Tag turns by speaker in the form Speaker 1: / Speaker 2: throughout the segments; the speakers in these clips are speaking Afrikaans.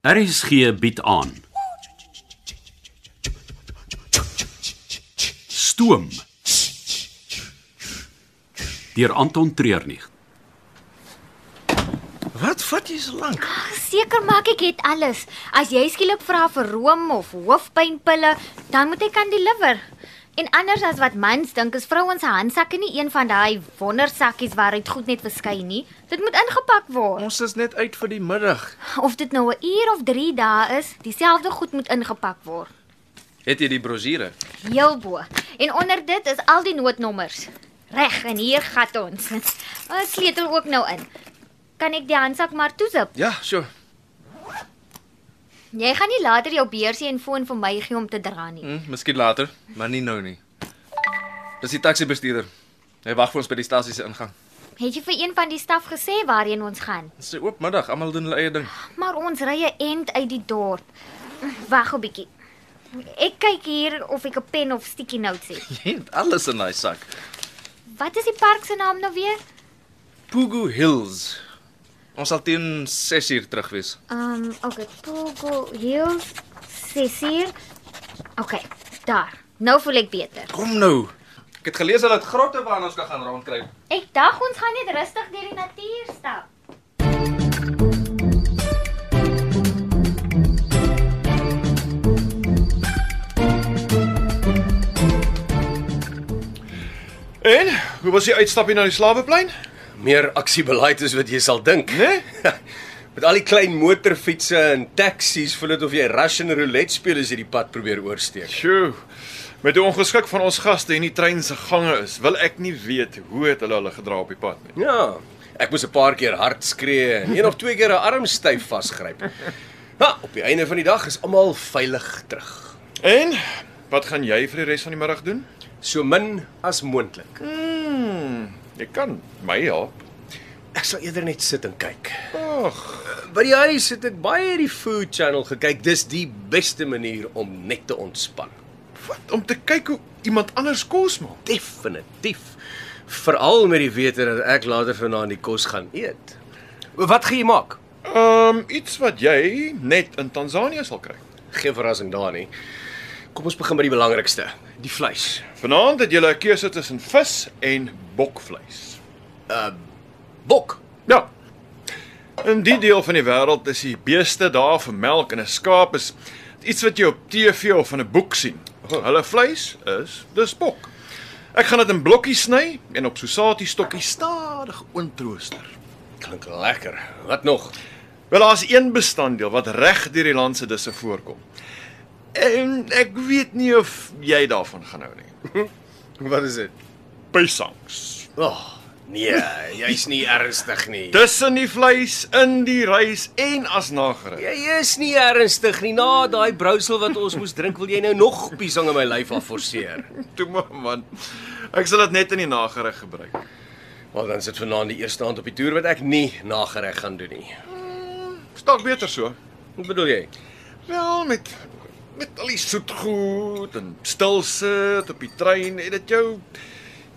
Speaker 1: RSG bied aan. Stoom. Deur Anton Treurnig.
Speaker 2: Wat vat jy so lank?
Speaker 3: Seker maak ek het alles. As jy skielik vra vir room of hoofpynpille, dan moet ek kan deliver. En anders as wat mans dink, is vrouens se handsakke nie een van daai wondersakkies waaruit goed net verskyn nie. Dit moet ingepak word.
Speaker 2: Ons is net uit vir die middag.
Speaker 3: Of dit nou 'n uur of 3 dae is, dieselfde goed moet ingepak word.
Speaker 2: Het jy die brosjure?
Speaker 3: Heel bo. En onder dit is al die noodnommers. Reg, en hier gat ons. Ons sleutel ook nou in. Kan ek die handsak maar toesip?
Speaker 2: Ja, sure.
Speaker 3: Jy gaan nie later jou beursie en foon vir my gee om te dra nie.
Speaker 2: Hm, miskien later, maar nie nou nie. Dis die taxi-bestuurder. Hy wag vir ons by die stasie se ingang.
Speaker 3: Het jy vir een van die staf gesê waarheen ons gaan?
Speaker 2: Dit is 'n oop middag, almal doen hulle eie ding.
Speaker 3: Maar ons ry 'n end uit die dorp. Wag 'n bietjie. Ek kyk hier of ek 'n pen of sticky notes het.
Speaker 2: Jy het alles in daai sak.
Speaker 3: Wat is die park se naam nou weer?
Speaker 2: Pugu Hills. Ons sal teen 6 uur terug wees.
Speaker 3: Ehm, um, okay, Pogo Hills, Cecil. Okay, daar. Nou voel ek beter.
Speaker 2: Kom nou. Ek het gelees hulle het grotte waarna ons kan gaan rondkruip.
Speaker 3: Ek dag ons gaan net rustig deur die natuur stap.
Speaker 4: En hoe was die uitstapie na die slaweplein?
Speaker 5: Meer aksiebeleid is wat jy sal dink.
Speaker 4: Né?
Speaker 5: Met al die klein motorfietsse en taksies voel dit of jy Russian roulette speel as jy die pad probeer oorsteek.
Speaker 4: Sjoe. Met die ongeskik van ons gaste en die trein se gange is, wil ek nie weet hoe het hulle hulle gedra op die pad nie.
Speaker 5: Ja, ek moes 'n paar keer hard skree en een of twee keer 'n arm styf vasgryp. Maar op die einde van die dag is almal veilig terug.
Speaker 4: En wat gaan jy vir die res van die middag doen?
Speaker 5: So min as moontlik.
Speaker 4: Jy kan my help.
Speaker 5: Ek sal eerder net sit en kyk.
Speaker 4: Ag,
Speaker 5: By die huis het ek baie die Food Channel gekyk. Dis die beste manier om net te ontspan.
Speaker 4: wat om te kyk hoe iemand anders kos maak.
Speaker 5: Definitief. Veral met die wete dat ek later vanaand die kos gaan eet. Wat gaan jy maak?
Speaker 4: Ehm um, iets wat jy net in Tansanië sal kry.
Speaker 5: Geen verrassing daar nie. Kom ons begin by die belangrikste, die vleis.
Speaker 4: Vanaand het jy 'n keuse tussen vis en bokvleis.
Speaker 5: Bok.
Speaker 4: Ja. In die deel van die wêreld is die beeste daar vir melk en 'n skaap is iets wat jy op TV of in 'n boek sien. Hulle vleis is dis bok. Ek gaan dit in blokkies sny en op sosati stokkies stadig oontrooster.
Speaker 5: Klink lekker. Wat nog?
Speaker 4: Wel daar's een bestanddeel wat reg deur die land se disse voorkom. En ek weet nie of jy daarvan gaan hou nie.
Speaker 5: Wat is dit?
Speaker 4: Pysangs.
Speaker 5: O, oh, nee, jy's nie ernstig nie.
Speaker 4: Tussen die vleis, in die rys en as nagereg.
Speaker 5: Jy is nie ernstig nie. Na daai brousel wat ons moes drink, wil jy nou nog piesang in my lyf af forceer.
Speaker 4: Toe maar man. Ek sal dit net in die nagereg gebruik.
Speaker 5: Maar dan sit vanaand die eerste aand op die toer wat ek nie nagereg gaan doen nie.
Speaker 4: Staak beter so.
Speaker 5: Wat bedoel jy?
Speaker 4: Wel met met al die soetgoed en stil sit op die trein en dit jou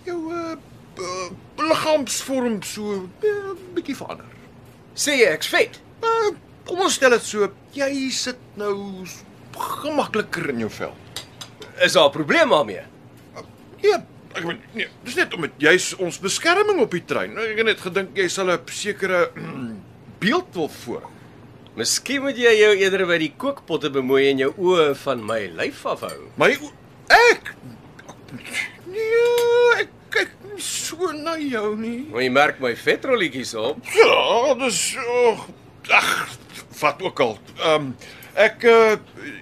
Speaker 4: jou uh, uh, liggaamsvorm so 'n uh, bietjie verander.
Speaker 5: Sê jy ek's vet?
Speaker 4: Uh, kom ons stel dit so, jy sit nou s- gemakliker in jou vel.
Speaker 5: Is daar 'n probleem daarmee?
Speaker 4: Ja, ek weet nee, dis net omdat jy's ons beskerming op die trein. Nou, Ek het net gedink jy sal 'n sekere beeld wil voor.
Speaker 5: Miskien moet jy jou eerder by die kookpotte bemoei en jou oë van my lyf afhou.
Speaker 4: My o- ek nee, ek kyk nie so na jou nie.
Speaker 5: Want jy merk my vetrolletjies op.
Speaker 4: Ja, dis oh, ag, wat ook al. Ehm um, ek uh,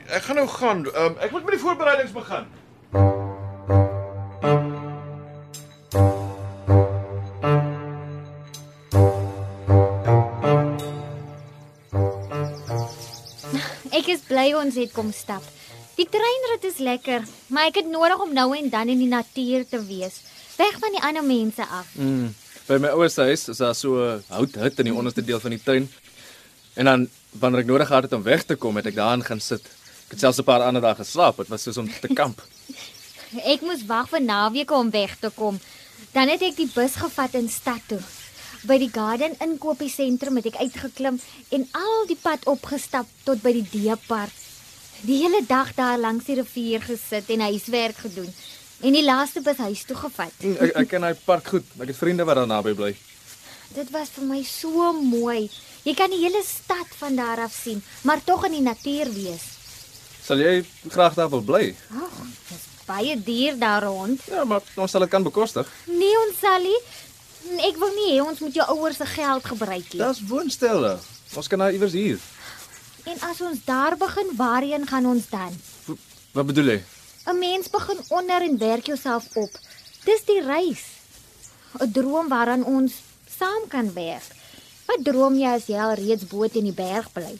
Speaker 4: ek gaan nou gaan. Ehm um, ek moet met die voorbereidings begin.
Speaker 3: Ek is bly ons het kom stap. Die treinrit is lekker, maar ek het nodig om nou en dan in die natuur te wees, weg van die ander mense af.
Speaker 6: By my ouers se huis is daar so 'n houthut in die onderste deel van die tuin. En dan wanneer ek nodig gehad het om weg te kom, het ek daarin gaan sit. Ek het selfs 'n paar ander dae geslaap. Dit was soos om te kamp.
Speaker 3: Ek moes wag vir naweke om weg te kom. Dan het ek die bus gevat in stad toe. By die Garden inkopiesentrum het ek uitgeklim en al die pad opgestap tot by die Deepark. Die hele dag daar langs die rivier gesit en huiswerk gedoen en die laaste bus huis toe gevat.
Speaker 6: Ek ek ken daai park goed. Ek het vriende wat daar naby bly.
Speaker 3: Dit was vir my so mooi. Jy kan die hele stad van daar af sien, maar tog in die natuur wees.
Speaker 6: Sal jy graag daar wil bly?
Speaker 3: Ag, dis baie duur daar rond.
Speaker 6: Ja, maar ons sal dit kan bekostig.
Speaker 3: Nee, ons sal nie. Ek wil nie hê ons moet jou ouers se geld gebruik nie.
Speaker 6: Daar's woonstelle. Ons kan nou iewers huur.
Speaker 3: En as ons daar begin, waarheen gaan ons dan?
Speaker 6: Wat bedoel jy?
Speaker 3: 'n Mens begin onder en werk jouself op. Dis die reis. 'n Droom waaraan ons saam kan werk. Wat droom jy as jy al reeds bo teen die berg bly?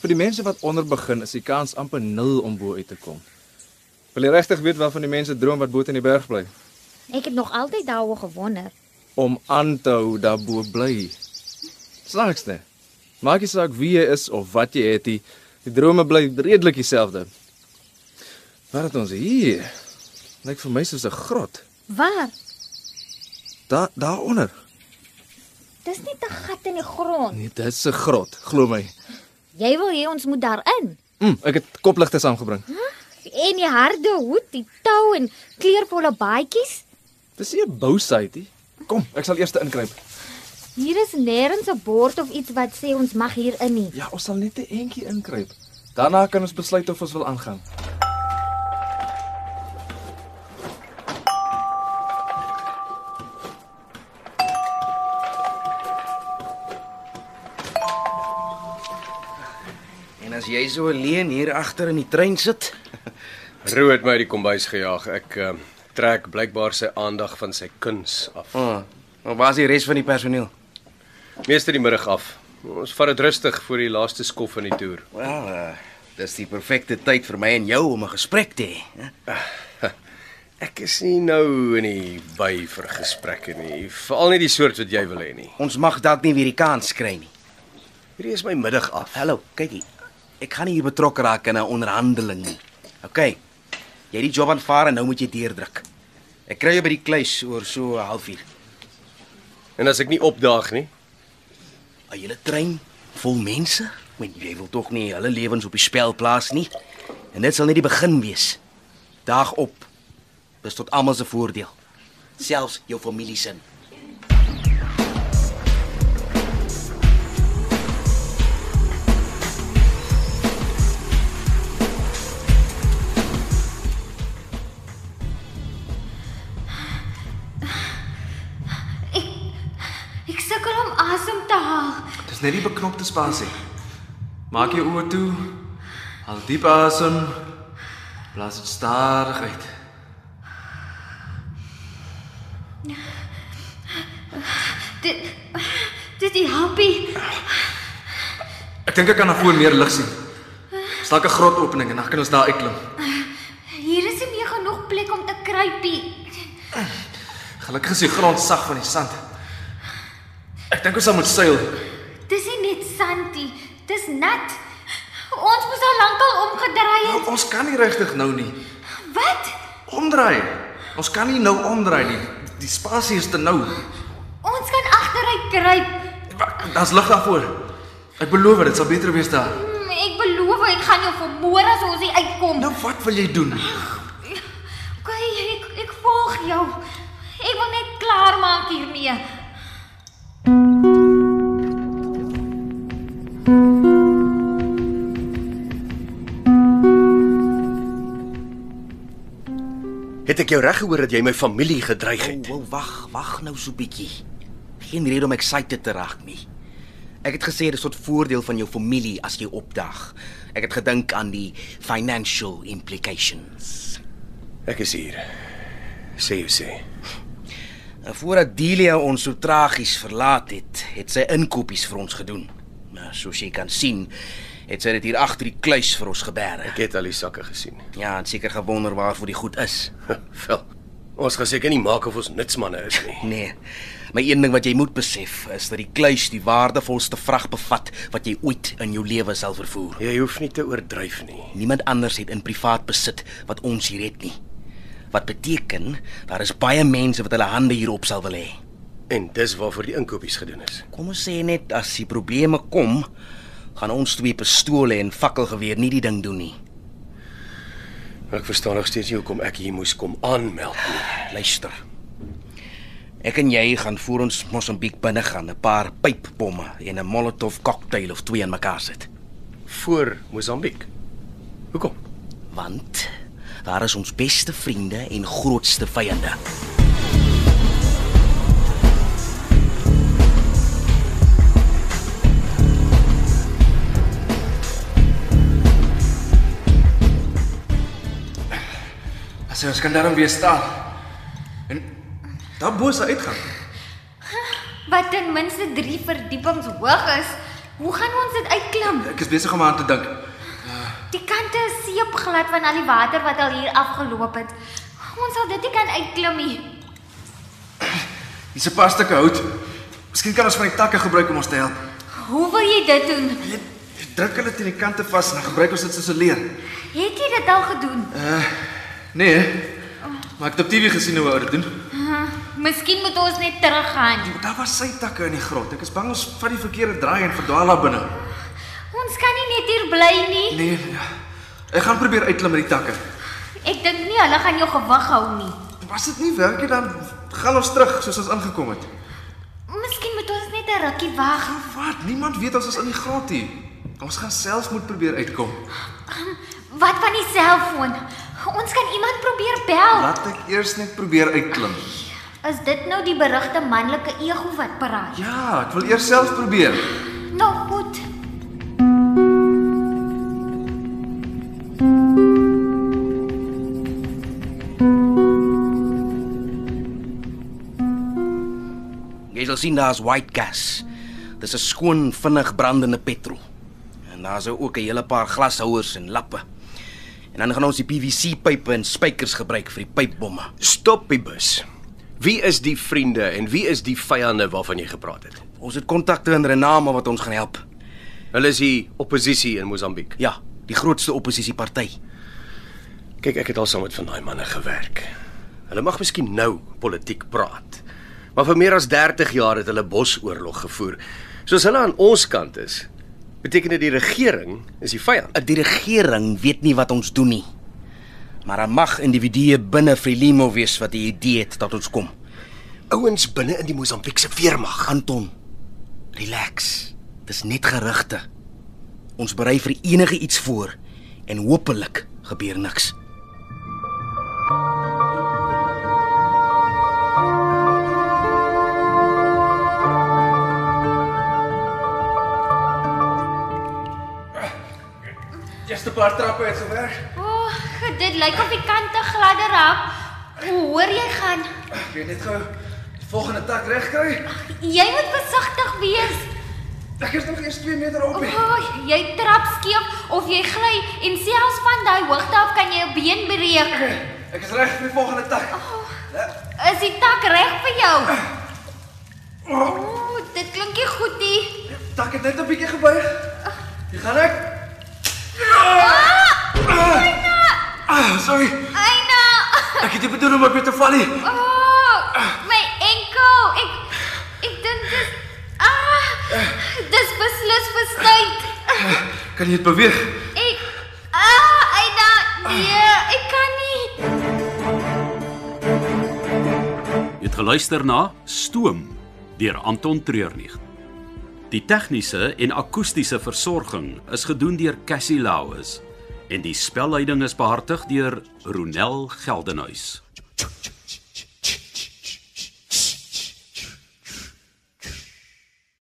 Speaker 6: Vir die mense wat onder begin is die kans amper nul om bo uit te kom. Wil jy regtig weet waarvan die mense droom wat bo in die berg bly?
Speaker 3: Ek het nog altyd daaroor gewonder.
Speaker 6: Om aan te hou daarbo bly. Snaakste. Maak nie saak wie jy is of wat jy het nie, die drome bly redelik dieselfde. Wat het ons hier? Lyk vir my soos 'n grot.
Speaker 3: Waar?
Speaker 6: Daar daaronder.
Speaker 3: Dis net 'n gat in die grond.
Speaker 6: Nee, dit is 'n grot, glo my.
Speaker 3: Jy wil hê ons moet daarin.
Speaker 6: Mm, ek het kopligte saamgebring.
Speaker 3: En die harde hoed, die tou en kleurvolle baadjies.
Speaker 6: Dis nie 'n bousaitjie. Kom, ek sal eers inkruip.
Speaker 3: Hier is nêrens 'n bord of iets wat sê ons mag hier in nie.
Speaker 6: Ja, ons sal net 'n entjie inkruip. Daarna kan ons besluit of ons wil aangaan.
Speaker 7: En as jy so alleen hier agter in die trein sit,
Speaker 5: Roo het my uit die kombuis gejaag. Ek uh, trek blykbaar sy aandag van sy kuns af.
Speaker 7: oh, maar waar is die res van die personeel?
Speaker 5: Meeste die middag af. Ons vat dit rustig vir die laaste skof van die toer.
Speaker 7: Wel, uh, dis die perfekte tyd vir my en jou om 'n gesprek te hê. hè?
Speaker 5: Ek is nie nou in die by vir gesprekke nie, veral nie die soort wat jy wil hê nie.
Speaker 7: Ons mag dalk nie weer die kans kry nie.
Speaker 5: Hierdie is my middag af.
Speaker 7: Hallo, kyk hier. Ek gaan nie hier betrokke raak in 'n onderhandeling nie. OK. Jy het die job aanvaar en nou moet jy deurdruk. Ek kry jou by die kluis oor so 'n halfuur.
Speaker 5: En as ek nie opdaag nie,
Speaker 7: 'n Hele trein vol mense. Men jy wil tog nie hulle lewens op die spel plaas nie. En dit sal net die begin wees. Daag op. Dis tot almal se voordeel. Selfs jou familie se.
Speaker 8: Ek sukkel om asem te haal.
Speaker 9: Dis net die beknopte spasie. Maak jou oë toe. Haal diep asem. Blaas dit stadig uit.
Speaker 8: Dit dit die happy.
Speaker 9: Ek dink ek kan af voor meer lig sien. Stak 'n grotopening en dan kan ons daar uitklim.
Speaker 8: Hier is nie meer genoeg plek om te kruipie.
Speaker 9: Gelukkig is die grond sag van die sand. Ek dink ons sal moet seil.
Speaker 8: Dis nie net sandie, dis nat. Ons moes al lankal omgedraai het.
Speaker 9: Nou, ons kan nie regtig nou nie
Speaker 8: Wat?
Speaker 9: omdraai. Ons kan nie nou omdraai nie. Die spasie is te nou.
Speaker 8: Ons kan agteruit kruip.
Speaker 9: Wa- Daar's lig daarvoor. Ek beloof dit sal beter wees daar.
Speaker 8: Mm, Ek beloof ek gaan jou vermoor as ons hier uitkom.
Speaker 9: Nou wat wil jy doen?
Speaker 8: OK, ek ek volg jou. Ek wil net klaar maak hiermee.
Speaker 5: het ek jou reg gehoor dat jy my familie gedreig
Speaker 7: Wou,
Speaker 5: het.
Speaker 7: wou, wag, wag nou so bietjie. Geen rede om excited te raak nie. Ek het gesê dis tot voordeel van jou familie as jy opdag. Ek het gedink aan die financial implications.
Speaker 5: Ek is hier. Sê jy sê.
Speaker 7: En Nou, voordat Delia ons so tragies verlaat het, het sy inkopies vir ons gedoen. Nou, soos jy kan sien, het sy dit hier agter die kluis vir ons geberg.
Speaker 5: Ek het al die sakke gesien.
Speaker 7: Ja, en seker gewonder waarvoor die goed is.
Speaker 5: Wel. Ons gaan seker nie maak of ons nitsmanne is nie.
Speaker 7: Nee. Maar een ding wat jy moet besef is dat die kluis die waardevolste vrag bevat wat jy ooit in jou lewe sal vervoer.
Speaker 5: Jy hoef nie te oordryf nie.
Speaker 7: Niemand anders het in privaat besit wat ons hier het nie. Wat beteken daar is baie mense wat hulle hande hierop sal wil hê.
Speaker 5: En dis waarvoor die inkopies gedoen is.
Speaker 7: Kom ons sê net as die probleme kom, gaan ons twee pistole en fakkelgeweer nie die ding doen nie.
Speaker 5: Ek verstaan nog steeds nie hoekom ek hier moes kom aanmeld nie.
Speaker 7: Luister. Ek en jy gaan voor ons Mosambiek binne gaan 'n paar pypbomme en 'n Molotov cocktail of twee in mekaar sit.
Speaker 5: Voor Mosambiek. Hoekom?
Speaker 7: Want daar is ons beste vriende en grootste vyande.
Speaker 10: As ons kan daarom weer staan. En daar bo se uitgang.
Speaker 3: Wat ten minste 3 verdiepings hoog is. Hoe gaan ons dit uitklim?
Speaker 10: Ek is besig om aan te dink.
Speaker 3: Die kante is seepglad van al die water wat al hier afgeloop het. Ons sal dit nie kan uitklim nie.
Speaker 10: Dis 'n paar stukke hout. Miskien kan ons van die takke gebruik om ons te help.
Speaker 3: Hoe wil jy dit doen?
Speaker 10: Jy druk hulle teen die kante vas en dan gebruik ons dit soos 'n leer.
Speaker 3: Het jy dit al gedoen?
Speaker 10: Nee. hè? Maar ek het op TV gesien hoe ou dit doen.
Speaker 3: Miskien moet ons net teruggaan.
Speaker 10: Daar was sy takke in die grot. Ek is bang ons vat die verkeerde draai en verdwaal daar binne.
Speaker 3: Ons kan nie net hier bly nie.
Speaker 10: Nee. ja. Ek gaan probeer uitklim met die takke.
Speaker 3: Ek dink nie hulle gaan jou gewig hou nie.
Speaker 10: As dit nie werk nie, dan gaan ons terug soos ons aangekom het.
Speaker 3: Miskien moet ons net 'n rukkie wag.
Speaker 10: Wat? Niemand weet ons is in die grot hier. Ons gaan self moet probeer uitkom.
Speaker 3: Wat van die selfoon? Ons kan iemand probeer bel.
Speaker 10: Laat ek eers net probeer uitklim.
Speaker 3: Is dit nou die berugte manlike ego wat praat?
Speaker 10: Ja, ek wil eers self probeer.
Speaker 3: Nou goed.
Speaker 7: Jy sal sien daar's white gas. Dis 'n skoon, vinnig brandende petrol. En daar's ook 'n hele paar glashouers en lappe. En dan gaan ons die PVC-pype en spykers gebruik vir die pypbomme.
Speaker 5: Stop die bus. Wie is die vriende en wie is die vyande waarvan jy gepraat het?
Speaker 7: Ons het kontakte in Rename wat ons gaan help.
Speaker 5: Hulle is die oppositie in Mosambiek.
Speaker 7: Ja, die grootste oppositieparty.
Speaker 5: Kyk, ek het al saam met van daai manne gewerk. Hulle mag miskien nou politiek praat. Maar vir meer as 30 jaar het hulle bosoorlog gevoer. Soos hulle aan ons kant is, beteken dit die regering is die vyand.
Speaker 7: Die regering weet nie wat ons doen nie. Maar daar mag individue binne Frelimo wees wat die idee het dat ons kom.
Speaker 5: Ouens binne in die Mosambiekse weermag.
Speaker 7: Anton, relax. Dis net gerugte. Ons berei vir enige iets voor en hopelik gebeur niks.
Speaker 10: Eerste paar trappe het gewerk.
Speaker 3: O, oh, dit lyk of die kante gladder raak. Hoe hoor jy gaan?
Speaker 10: Ek weet net gou die volgende tak reg kry.
Speaker 3: Jy moet versigtig wees.
Speaker 10: Ek is nog eers 2 meter op.
Speaker 3: O,
Speaker 10: hè.
Speaker 3: oh, jy trap skeef of jy gly en selfs van daai hoogte af kan jy 'n been breek.
Speaker 10: Ek is reg vir die volgende tak.
Speaker 3: Is die tak reg vir jou? O, oh, dit klink nie goed nie.
Speaker 10: Die Tak het net 'n bietjie gebuig. Hier gaan ek. Ah, sorry.
Speaker 3: Eina.
Speaker 10: Ek het nie bedoel om op jou te val nie.
Speaker 3: O, oh, my enkel. Ek ek dink dis ah, dis beslis verstuit.
Speaker 10: Kan jy dit beweeg?
Speaker 3: Ek ah, Eina, nee, ek kan nie.
Speaker 1: Jy het geluister na Stoom deur Anton Treurnig. Die tegniese en akoestiese versorging is gedoen deur Cassie Lauis en die spelleiding is behartig deur Ronel Geldenhuys.